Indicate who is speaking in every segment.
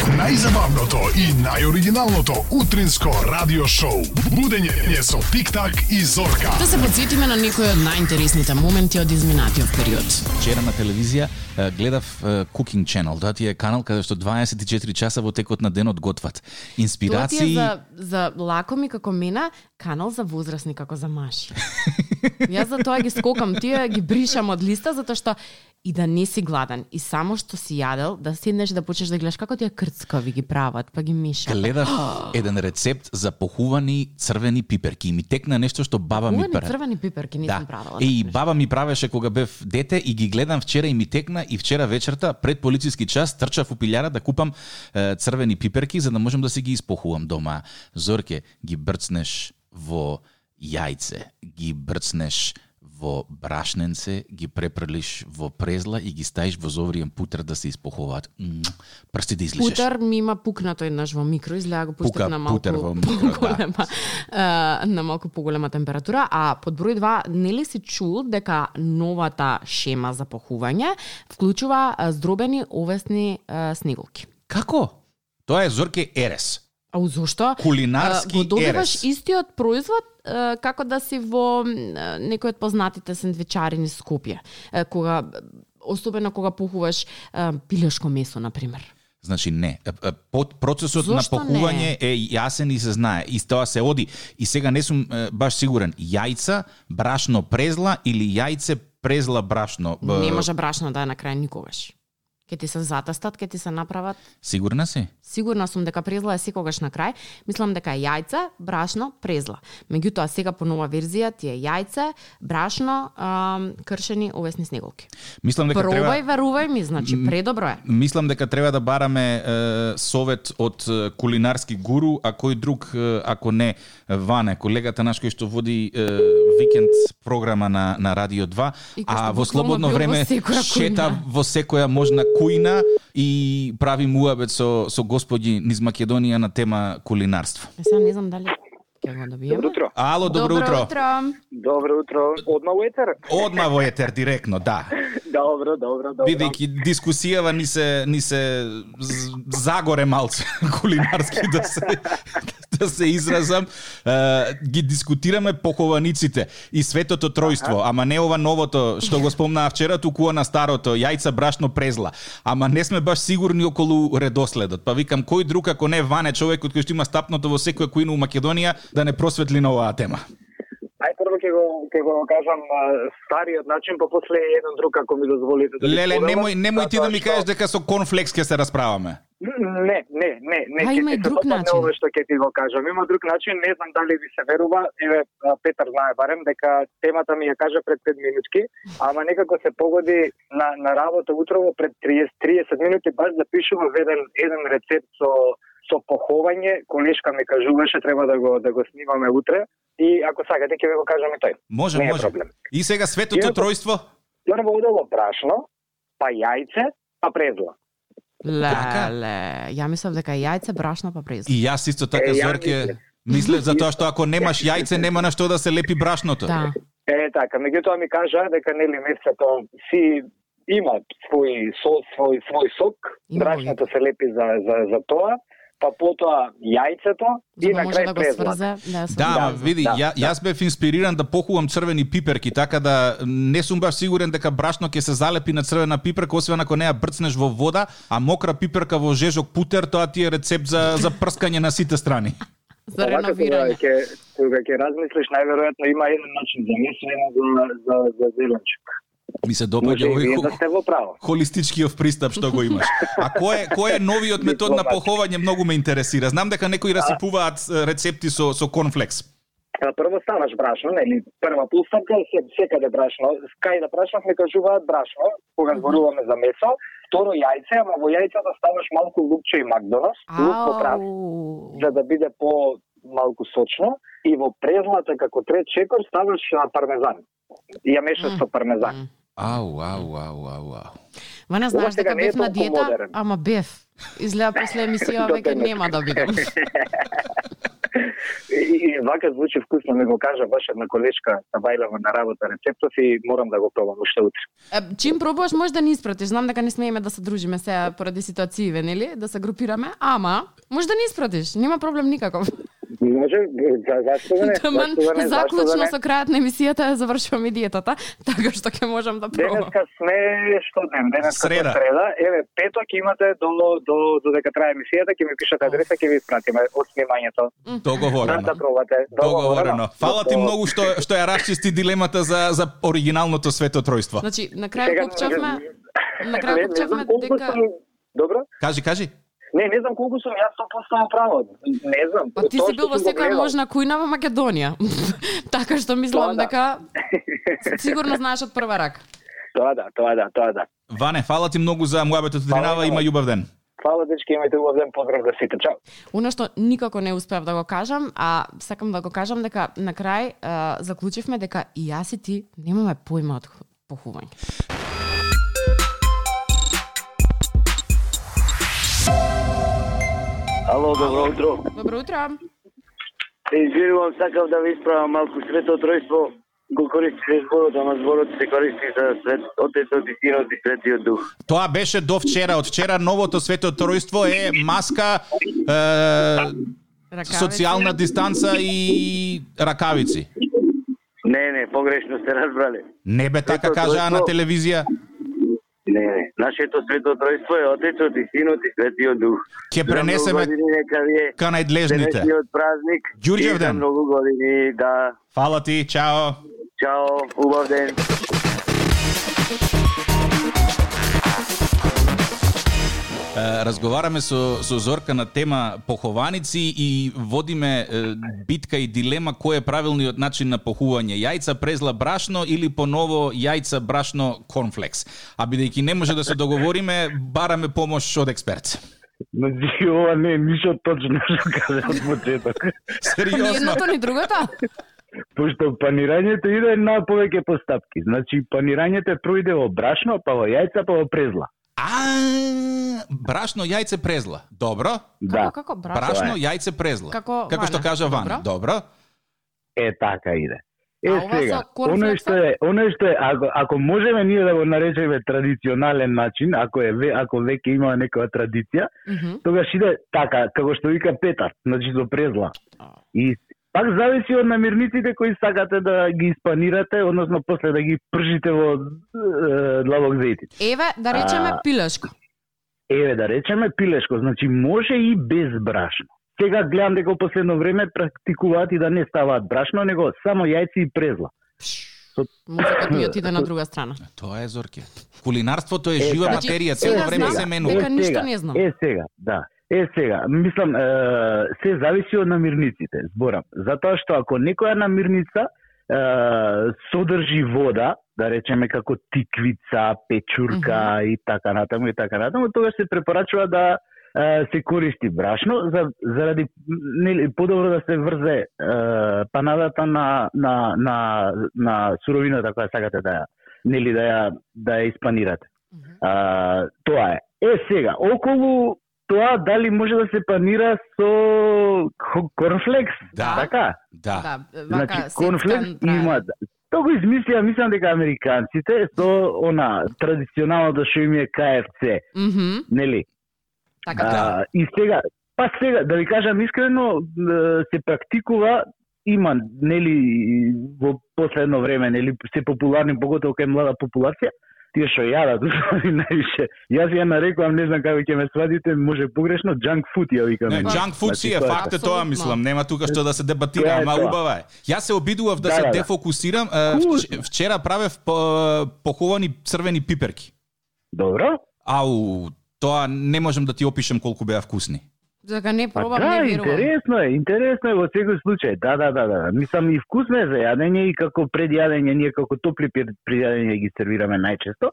Speaker 1: Најзабавното и најоригиналното утринско радио шоу. Будење со Тик-так и Зорка.
Speaker 2: Да се подсетиме на некои од најинтересните моменти од изминатиот период.
Speaker 3: Вчера на телевизија е, гледав е, Cooking Channel. Тоа ти е канал каде што 24 часа во текот на денот готват.
Speaker 4: Тоа ти е
Speaker 3: Инспирации.
Speaker 4: за, за лакоми како мена, канал за возрастни како за маши. Јас за тоа ги скокам, тие ги бришам од листа, затоа што и да не си гладен, и само што си јадел, да седнеш да почнеш да гледаш како тие крцкави ги прават, па ги мишат.
Speaker 3: Гледав еден рецепт за похувани црвени пиперки и ми текна нешто што баба ми
Speaker 4: Пухани
Speaker 3: пра...
Speaker 4: црвени пиперки не
Speaker 3: Да.
Speaker 4: сум правела.
Speaker 3: Е, и
Speaker 4: такви
Speaker 3: баба ми правеше кога бев дете и ги гледам вчера и ми текна и вчера вечерта пред полициски час трчав у пилјара да купам е, црвени пиперки за да можам да си ги испохувам дома. Зорке, ги брцнеш во јајце, ги брцнеш во брашненце, ги препрлиш во презла и ги стаиш во зовриен путер да се испохуваат. М, Прсти да излишеш.
Speaker 4: Путер ми има пукнато еднаш во микро, изгледа го пуштев
Speaker 3: Пука
Speaker 4: на малку
Speaker 3: путер во микро, да.
Speaker 4: поголема, а, на малку поголема температура, а под број 2 нели си чул дека новата шема за похување вклучува а, здробени овесни а, снеголки.
Speaker 3: Како? Тоа е Зорке Ерес.
Speaker 4: Ау зошто?
Speaker 3: Кулинарски
Speaker 4: А, го добиваш
Speaker 3: ерес.
Speaker 4: истиот производ а, како да си во м, а, некој од познатите сендвичари низ Скопје, а, кога особено кога похуваш а, пилешко месо на пример.
Speaker 3: Значи не, Е, е, под процесот
Speaker 4: Зошто
Speaker 3: на похување е јасен и се знае, и тоа се оди. И сега не сум е, баш сигурен, јајца, брашно презла или јајце презла брашно. Б,
Speaker 4: Не може брашно да е на крај никогаш. Ке ти се затастат, ке ти се направат.
Speaker 3: Сигурна си?
Speaker 4: Сигурна сум дека презла е секогаш на крај. Мислам дека е јајца, брашно, презла. Меѓутоа сега по нова верзија ти е јајце, брашно, ам, кршени овесни снеголки.
Speaker 3: Мислам дека треба
Speaker 4: Пробај, верувај ми, значи предобро е.
Speaker 3: Мислам дека треба да бараме е, совет од е, кулинарски гуру, а кој друг е, ако не Ване, колегата наш кој што води е, викенд програма на на Радио 2,
Speaker 4: И кој
Speaker 3: а
Speaker 4: што
Speaker 3: во
Speaker 4: буквално
Speaker 3: слободно
Speaker 4: бил во
Speaker 3: време
Speaker 4: секоја
Speaker 3: шета
Speaker 4: кујна.
Speaker 3: во секоја можна кујна и прави муабет со со господи низ Македонија на тема кулинарство.
Speaker 4: Е, Сега не знам дали ќе го добиеме.
Speaker 5: Добро утро.
Speaker 3: Ало, добро, утро.
Speaker 5: Добро утро. Одма у етер?
Speaker 3: Одма во етер директно, да.
Speaker 5: Добро, добро, добро.
Speaker 3: Бидејќи дискусијава ни се ни се з- загоре малце кулинарски да се да се изразам, е, ги дискутираме похованиците и светото тројство, ама не ова новото што го спомнаа вчера, туку она старото јајца брашно презла. Ама не сме баш сигурни околу редоследот. Па викам кој друг ако не Ване човекот кој што има стапното во секоја кујна у Македонија да не просветли на оваа тема.
Speaker 5: Ај прво ќе го ќе го кажам а, стариот начин, па после еден друг ако ми дозволите да. ви
Speaker 3: Леле,
Speaker 5: поделам,
Speaker 3: немој немој ти да ми
Speaker 5: затоа што-
Speaker 3: кажеш дека со конфлекс ќе се расправаме.
Speaker 5: Не, не, не, не.
Speaker 4: А
Speaker 5: ќе
Speaker 4: има и
Speaker 5: ти се
Speaker 4: друг
Speaker 5: допадне
Speaker 4: начин.
Speaker 5: Ова што ќе ти го кажам. Има друг начин, не знам дали ви се верува. Еве а, Петар знае барем дека темата ми ја кажа пред 5 минутки, ама некако се погоди на на работа утрово пред 30 30 минути баш да пишува еден еден рецепт со со поховање, колешка ми кажуваше треба да го да го снимаме утре и ако сакате ќе ви го кажам и тој.
Speaker 3: Може,
Speaker 5: Не е
Speaker 3: може.
Speaker 5: проблем.
Speaker 3: И сега светото
Speaker 5: Иако-
Speaker 3: тројство?
Speaker 5: Прво одело брашно, па јајце, па презла.
Speaker 3: Така?
Speaker 4: Леле, ја мислам дека е јајце, брашно па презла.
Speaker 3: И јас исто така
Speaker 5: Е, ја
Speaker 3: зорке
Speaker 5: мислев.
Speaker 3: мислев за тоа што ако немаш јајце нема на што да се лепи брашното.
Speaker 4: Да.
Speaker 5: Е, така, меѓутоа ми кажа дека нели месецето си има свој со, свој, свој сок,
Speaker 4: Има
Speaker 5: брашното се лепи за, за, за тоа, па потоа јајцето
Speaker 4: За
Speaker 5: и
Speaker 4: да
Speaker 5: на
Speaker 4: може
Speaker 5: крај
Speaker 4: да го
Speaker 5: презла.
Speaker 4: сврзе, да,
Speaker 3: Да, ама
Speaker 5: да,
Speaker 3: види,
Speaker 5: да,
Speaker 3: ја, јас бев инспириран да похувам црвени пиперки, така да не сум баш сигурен дека брашно ќе се залепи на црвена пиперка, освен ако не ја брцнеш во вода, а мокра пиперка во жежок путер, тоа ти е рецепт за, за прскање на сите страни.
Speaker 4: за
Speaker 5: Овака кога
Speaker 4: реновирање.
Speaker 5: ќе кога ќе размислиш најверојатно има еден начин за месо, еден за за за зеленчук.
Speaker 3: Ми се
Speaker 5: Може
Speaker 3: допаѓа
Speaker 5: и вие
Speaker 3: овој
Speaker 5: да
Speaker 3: хо-
Speaker 5: сте во право.
Speaker 3: холистичкиот пристап што го имаш. А кој е кој е новиот метод на поховање многу ме интересира. Знам дека некои расипуваат е, рецепти со со конфлекс.
Speaker 5: А, Прво ставаш брашно, нели? Прва постапка е се- секаде брашно. Кај да брашнав не кажуваат брашно, кога зборуваме за месо. Второ јајце, ама во јајцето ставаш малку лукче и макдонос, лук во прав,
Speaker 4: Ау.
Speaker 5: за да биде по малку сочно. И во презлата, како трет чекор, ставаш а, пармезан. И ја мешаш со пармезан.
Speaker 4: Мм.
Speaker 3: Ау, ау, ау, ау, ау.
Speaker 4: Ване, знаеш
Speaker 5: сега
Speaker 4: дека
Speaker 5: не е
Speaker 4: бев на
Speaker 5: толку
Speaker 4: диета,
Speaker 5: модерен.
Speaker 4: ама бев. Изгледа после емисија
Speaker 5: До
Speaker 4: веќе
Speaker 5: денес.
Speaker 4: нема да бидам.
Speaker 5: И, и вака звучи вкусно, ми го кажа баш една колешка на бајлава на работа рецептов и морам да го пробам уште утре.
Speaker 4: Е, Чим пробуваш може да ни испратиш. Знам дека не смееме да се дружиме сега поради ситуациите, нели? Да се групираме, ама може да ни испратиш. Нема проблем никаков.
Speaker 5: Може, за, зашто да не?
Speaker 4: Таман,
Speaker 5: Зашто да не? Зашто да
Speaker 4: заклучно
Speaker 5: не?
Speaker 4: со крајот на емисијата ја завршувам и диетата, така што ќе можам да пробам.
Speaker 5: Денеска сме што ден, денеска сме
Speaker 3: Среда.
Speaker 5: среда. Еве, петок имате до до до дека трае емисијата, ќе ми пишете адреса, ќе ви испратиме од снимањето. Да, да
Speaker 3: Договорено.
Speaker 5: пробате.
Speaker 3: Договорено. Фала ти
Speaker 5: До-
Speaker 3: многу што што ја расчисти дилемата за за оригиналното светотројство.
Speaker 4: Значи, на
Speaker 5: Сега,
Speaker 4: крај копчавме, на
Speaker 5: не-
Speaker 4: крај
Speaker 5: не знам
Speaker 4: копчавме
Speaker 5: колку
Speaker 4: дека
Speaker 5: сум- Добро?
Speaker 3: Кажи, кажи.
Speaker 5: Не, не знам колку сум јас 100% право. Не знам.
Speaker 4: Па ти
Speaker 5: Тоа
Speaker 4: си
Speaker 5: што
Speaker 4: бил во
Speaker 5: сум го
Speaker 4: секоја
Speaker 5: гледал.
Speaker 4: можна кујна во Македонија. така што мислам
Speaker 5: Тоа да.
Speaker 4: дека сигурно знаеш од прва рака.
Speaker 5: Тоа да, тоа да, тоа да.
Speaker 3: Ване, фала ти многу за муабетот тринава, има љубав ден.
Speaker 5: Фала дечки, имајте да убав ден, поздрав за сите. Чао.
Speaker 4: Она што никако не успев да го кажам, а сакам да го кажам дека на крај а, заклучивме дека и јас и ти немаме појма од ху- похување.
Speaker 6: Ало, добро утро.
Speaker 4: Добро утро.
Speaker 6: Извинувам, сакам да ви исправам малку светотројство. Го користите зборот, ама зборот се користи за свет, отецот и синот и светиот дух.
Speaker 3: Тоа беше до вчера. Од вчера новото светотројство е маска, е,
Speaker 4: Ракавици.
Speaker 3: социјална дистанца и ракавици.
Speaker 6: Не, не, погрешно сте разбрале.
Speaker 3: Не бе така кажаа на телевизија.
Speaker 6: Не, не. Нашето светотројство е отецот и синот и светиот дух.
Speaker 3: Ќе пренесеме
Speaker 6: За многу години нека ви е
Speaker 3: Ка најдлежните.
Speaker 6: денешниот празник.
Speaker 3: Ѓурѓев
Speaker 6: И за
Speaker 3: ден.
Speaker 6: многу години, да.
Speaker 3: Фала ти, чао.
Speaker 6: Чао, убав ден.
Speaker 3: Е, разговараме со со Зорка на тема похованици и водиме е, битка и дилема кој е правилниот начин на похување јајца презла брашно или поново јајца брашно конфлекс. А бидејќи не може да се договориме, бараме помош од експерт.
Speaker 7: Значи, ова не е ништо точно што кажа од почеток.
Speaker 4: Ни
Speaker 3: Сериозно.
Speaker 4: едното ни другото.
Speaker 7: Пошто панирањето иде на повеќе постапки. Значи, панирањето проиде во брашно, па во јајца, па во презла.
Speaker 3: А, брашно јајце презла. Добро.
Speaker 7: Да,
Speaker 4: Како, како брат?
Speaker 3: Брашно јајце презла.
Speaker 4: Како
Speaker 3: Како што
Speaker 4: Вана.
Speaker 3: кажа Ван.
Speaker 4: Добро.
Speaker 3: Добро.
Speaker 7: е така иде. Е
Speaker 4: А ова
Speaker 7: сега,
Speaker 4: со
Speaker 7: оно
Speaker 4: корнфлекса?
Speaker 7: што е, оно што е, ако, ако можеме ние да го наречеме традиционален начин, ако е ве- ако веќе има некоја традиција,
Speaker 4: Мгм.
Speaker 7: тогаш иде така, како што вика Петар, значи до презла. И пак зависи од намирниците кои сакате да ги испанирате, односно после да ги пржите во е, длабок зејтин.
Speaker 4: Еве, да речеме
Speaker 7: А.
Speaker 4: пилешко.
Speaker 7: Еве да речеме пилешко, значи може и без брашно. Сега гледам дека во последно време практикуваат и да не ставаат брашно, него само јајци и презла.
Speaker 4: Музикот ми отиде на друга страна.
Speaker 3: Тоа е Зорке. Кулинарството е
Speaker 7: Е, така.
Speaker 3: жива
Speaker 4: значи,
Speaker 3: материја,
Speaker 4: сега
Speaker 3: цело време
Speaker 4: знам
Speaker 3: се менува.
Speaker 4: дека
Speaker 7: Е,
Speaker 4: ништо
Speaker 7: сега,
Speaker 4: не знам.
Speaker 7: Е сега, да. Е сега, мислам, е, се зависи од намирниците, зборам. Затоа што ако некоја намирница е, содржи вода, да речеме како тиквица, печурка mm -hmm. и така натаму и така натаму, тогаш се препорачува да е, се користи брашно за заради нели подобро да се врзе е, панадата на на на на суровината која сакате да ја нели да ја да ја испанирате. А, тоа е. Е сега, околу тоа дали може да се панира со хо- корнфлекс?
Speaker 3: Да.
Speaker 7: Така?
Speaker 3: Да.
Speaker 4: Да, вака
Speaker 7: Значи,
Speaker 4: сектан
Speaker 7: корнфлекс
Speaker 4: трае.
Speaker 7: има... да. Тоа го измислија, мислам дека американците со она традиционалното што им е КФЦ,
Speaker 4: Мгм,
Speaker 7: нели?
Speaker 4: Така.
Speaker 3: Да.
Speaker 7: А, и сега, па сега, да ви кажам искрено, е, се практикува има нели во последно време нели се популарни поготово кај млада популација тие што јадат значи, највише јас ја нарекувам не знам како ќе ме сватите може погрешно junk food ја викаме
Speaker 3: Не,
Speaker 7: ние.
Speaker 3: junk food си е
Speaker 7: Значи, тоа
Speaker 3: факт, е тоа
Speaker 4: Апсолутно.
Speaker 3: мислам, нема тука што да се
Speaker 7: Тоа
Speaker 3: дебатира,
Speaker 7: е
Speaker 3: ама
Speaker 7: тоа.
Speaker 3: убава е. Јас се обидував да,
Speaker 7: Да,
Speaker 3: се
Speaker 7: да, да.
Speaker 3: дефокусирам, е, вч- вчера правев по- поховани црвени пиперки.
Speaker 7: добро
Speaker 3: Ау, тоа не можам да ти опишам колку беа вкусни.
Speaker 4: Дека не
Speaker 7: Па
Speaker 4: пробам,
Speaker 7: да,
Speaker 4: не верувам.
Speaker 7: интересно е, интересно е во секој случај. Да, да, да, да. Мислам и вкусно е за јадење и како пред јадење, ние како топли пред пред јадење ги сервираме најчесто.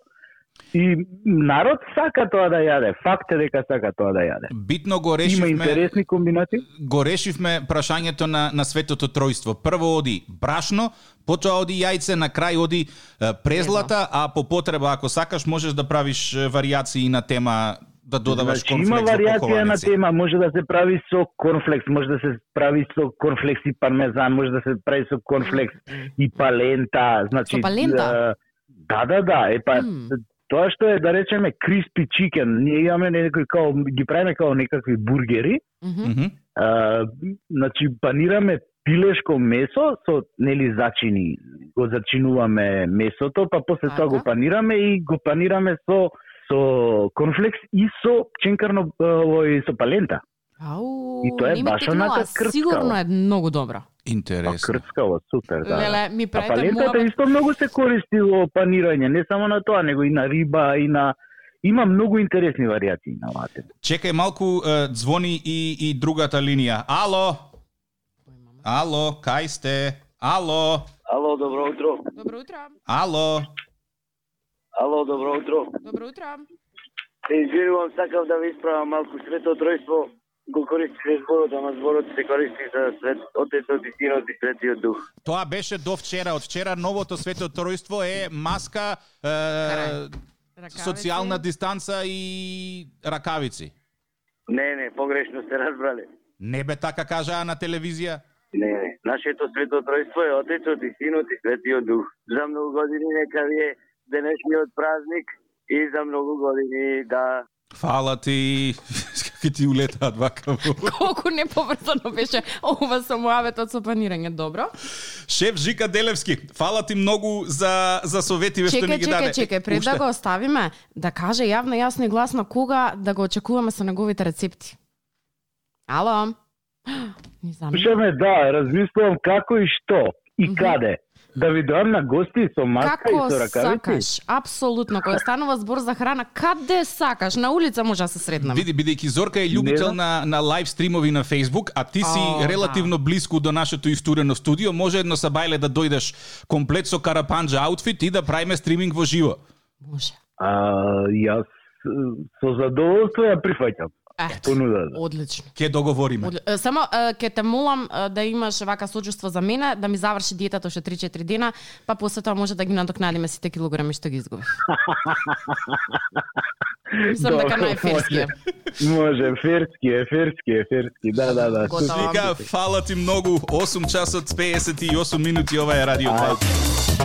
Speaker 7: И народ сака тоа да јаде. Факт е дека сака тоа да јаде.
Speaker 3: Битно го
Speaker 7: Има
Speaker 3: решивме,
Speaker 7: интересни комбинации.
Speaker 3: го решивме прашањето на, на светото тројство. Прво оди брашно, потоа оди јајце, на крај оди е, презлата, а по потреба, ако сакаш, можеш да правиш е, варијации на тема да додаваш
Speaker 7: Значи, има
Speaker 3: конфликт во
Speaker 7: варијација на
Speaker 3: кохованици.
Speaker 7: тема, може да се прави со конфлекс, може да се прави со конфлекс и пармезан, може да се прави со конфлекс и палента, значи
Speaker 4: Со палента?
Speaker 7: е, Да, да, да, е па
Speaker 4: М.
Speaker 7: тоа што е да речеме криспи чикен, ние имаме некои као ги правиме као некакви бургери,
Speaker 4: Мгм.
Speaker 3: Мгм.
Speaker 7: а, значи панираме пилешко месо со нели зачини, го зачинуваме месото, па после тоа
Speaker 4: Така.
Speaker 7: го панираме и го панираме со со конфлекс и со пченкарно а, овој со палента.
Speaker 4: Ау,
Speaker 7: И тоа е
Speaker 4: не ми
Speaker 7: баш
Speaker 4: текнува,
Speaker 7: онака
Speaker 4: а
Speaker 7: крцкава.
Speaker 4: Сигурно е многу добро.
Speaker 7: Па
Speaker 3: Интересно.
Speaker 7: крцкаво, супер, да.
Speaker 4: Леле, ми
Speaker 7: а
Speaker 4: правите
Speaker 7: палентата
Speaker 4: муабет.
Speaker 7: исто многу се користи во панирање, не само на тоа, него и на риба, и на има многу интересни варијации на оваа тема.
Speaker 3: Чекај малку, е, звони и, и другата линија. Ало? Ало, кај сте? Ало?
Speaker 6: Ало, добро утро.
Speaker 4: Добро утро.
Speaker 3: Ало?
Speaker 6: Ало, добро утро.
Speaker 4: Добро утро.
Speaker 6: Извинувам, сакав да ви исправам малку свето тројство. Го користи се зборот, ама зборот се користи за свет, отецот и синот и светиот дух.
Speaker 3: Тоа беше до вчера. Од вчера новото свето тројство е маска, е,
Speaker 4: Ракавици.
Speaker 3: социјална дистанца и ракавици.
Speaker 6: Не, не, погрешно сте разбрале.
Speaker 3: Не бе така кажаа на телевизија.
Speaker 6: Не, не. Нашето свето тројство е Отецот и Синот и Светиот Дух. За многу години нека ви е денешниот празник и за многу години да
Speaker 3: Фала ти, какви ти улетаат вака во...
Speaker 4: Колку неповрзано беше ова со муабетот со планирање. Добро.
Speaker 3: Шеф Жика Делевски, фала ти многу за, за советиве што ни
Speaker 4: Чекај,
Speaker 3: ги
Speaker 4: чекај,
Speaker 3: даде.
Speaker 4: чекај, пред да
Speaker 3: Уште?
Speaker 4: го оставиме, да каже јавно, јасно и гласно кога да го очекуваме со неговите рецепти. Ало? Не знам.
Speaker 7: Слушаме, да, размислувам како и што и каде. Да ви доам на гости со маска
Speaker 4: Како
Speaker 7: и со ракавици.
Speaker 4: сакаш, апсолутно, кога станува збор за храна, каде сакаш, на улица може да се среднеме.
Speaker 3: Види, бидејќи Зорка е љубител
Speaker 7: Не,
Speaker 3: на, на лайв стримови на Facebook, а ти си
Speaker 4: О, да.
Speaker 3: релативно близко до нашето истурено студио, може едно сабајле да дојдеш комплет со карапанџа аутфит и да правиме стриминг во живо.
Speaker 4: Може.
Speaker 7: А јас е, со задоволство ја прифаќам.
Speaker 4: Ето,
Speaker 7: Понуда. да.
Speaker 4: одлично.
Speaker 3: Ке договориме.
Speaker 4: Одле- е, Само е, ке те молам е, да имаш вака сочувство за мене, да ми заврши диетата уште 3-4 дена, па после тоа може да ги надокнадиме сите килограми што ги изгубив. Мислам дека
Speaker 7: Добро,
Speaker 4: најферски е.
Speaker 7: може. Може, ферски е, ферски е, ферски. Да, да, да.
Speaker 4: Готово.
Speaker 3: Слика, фала ти многу. 8 часот 58 минути, ова е Радио 2.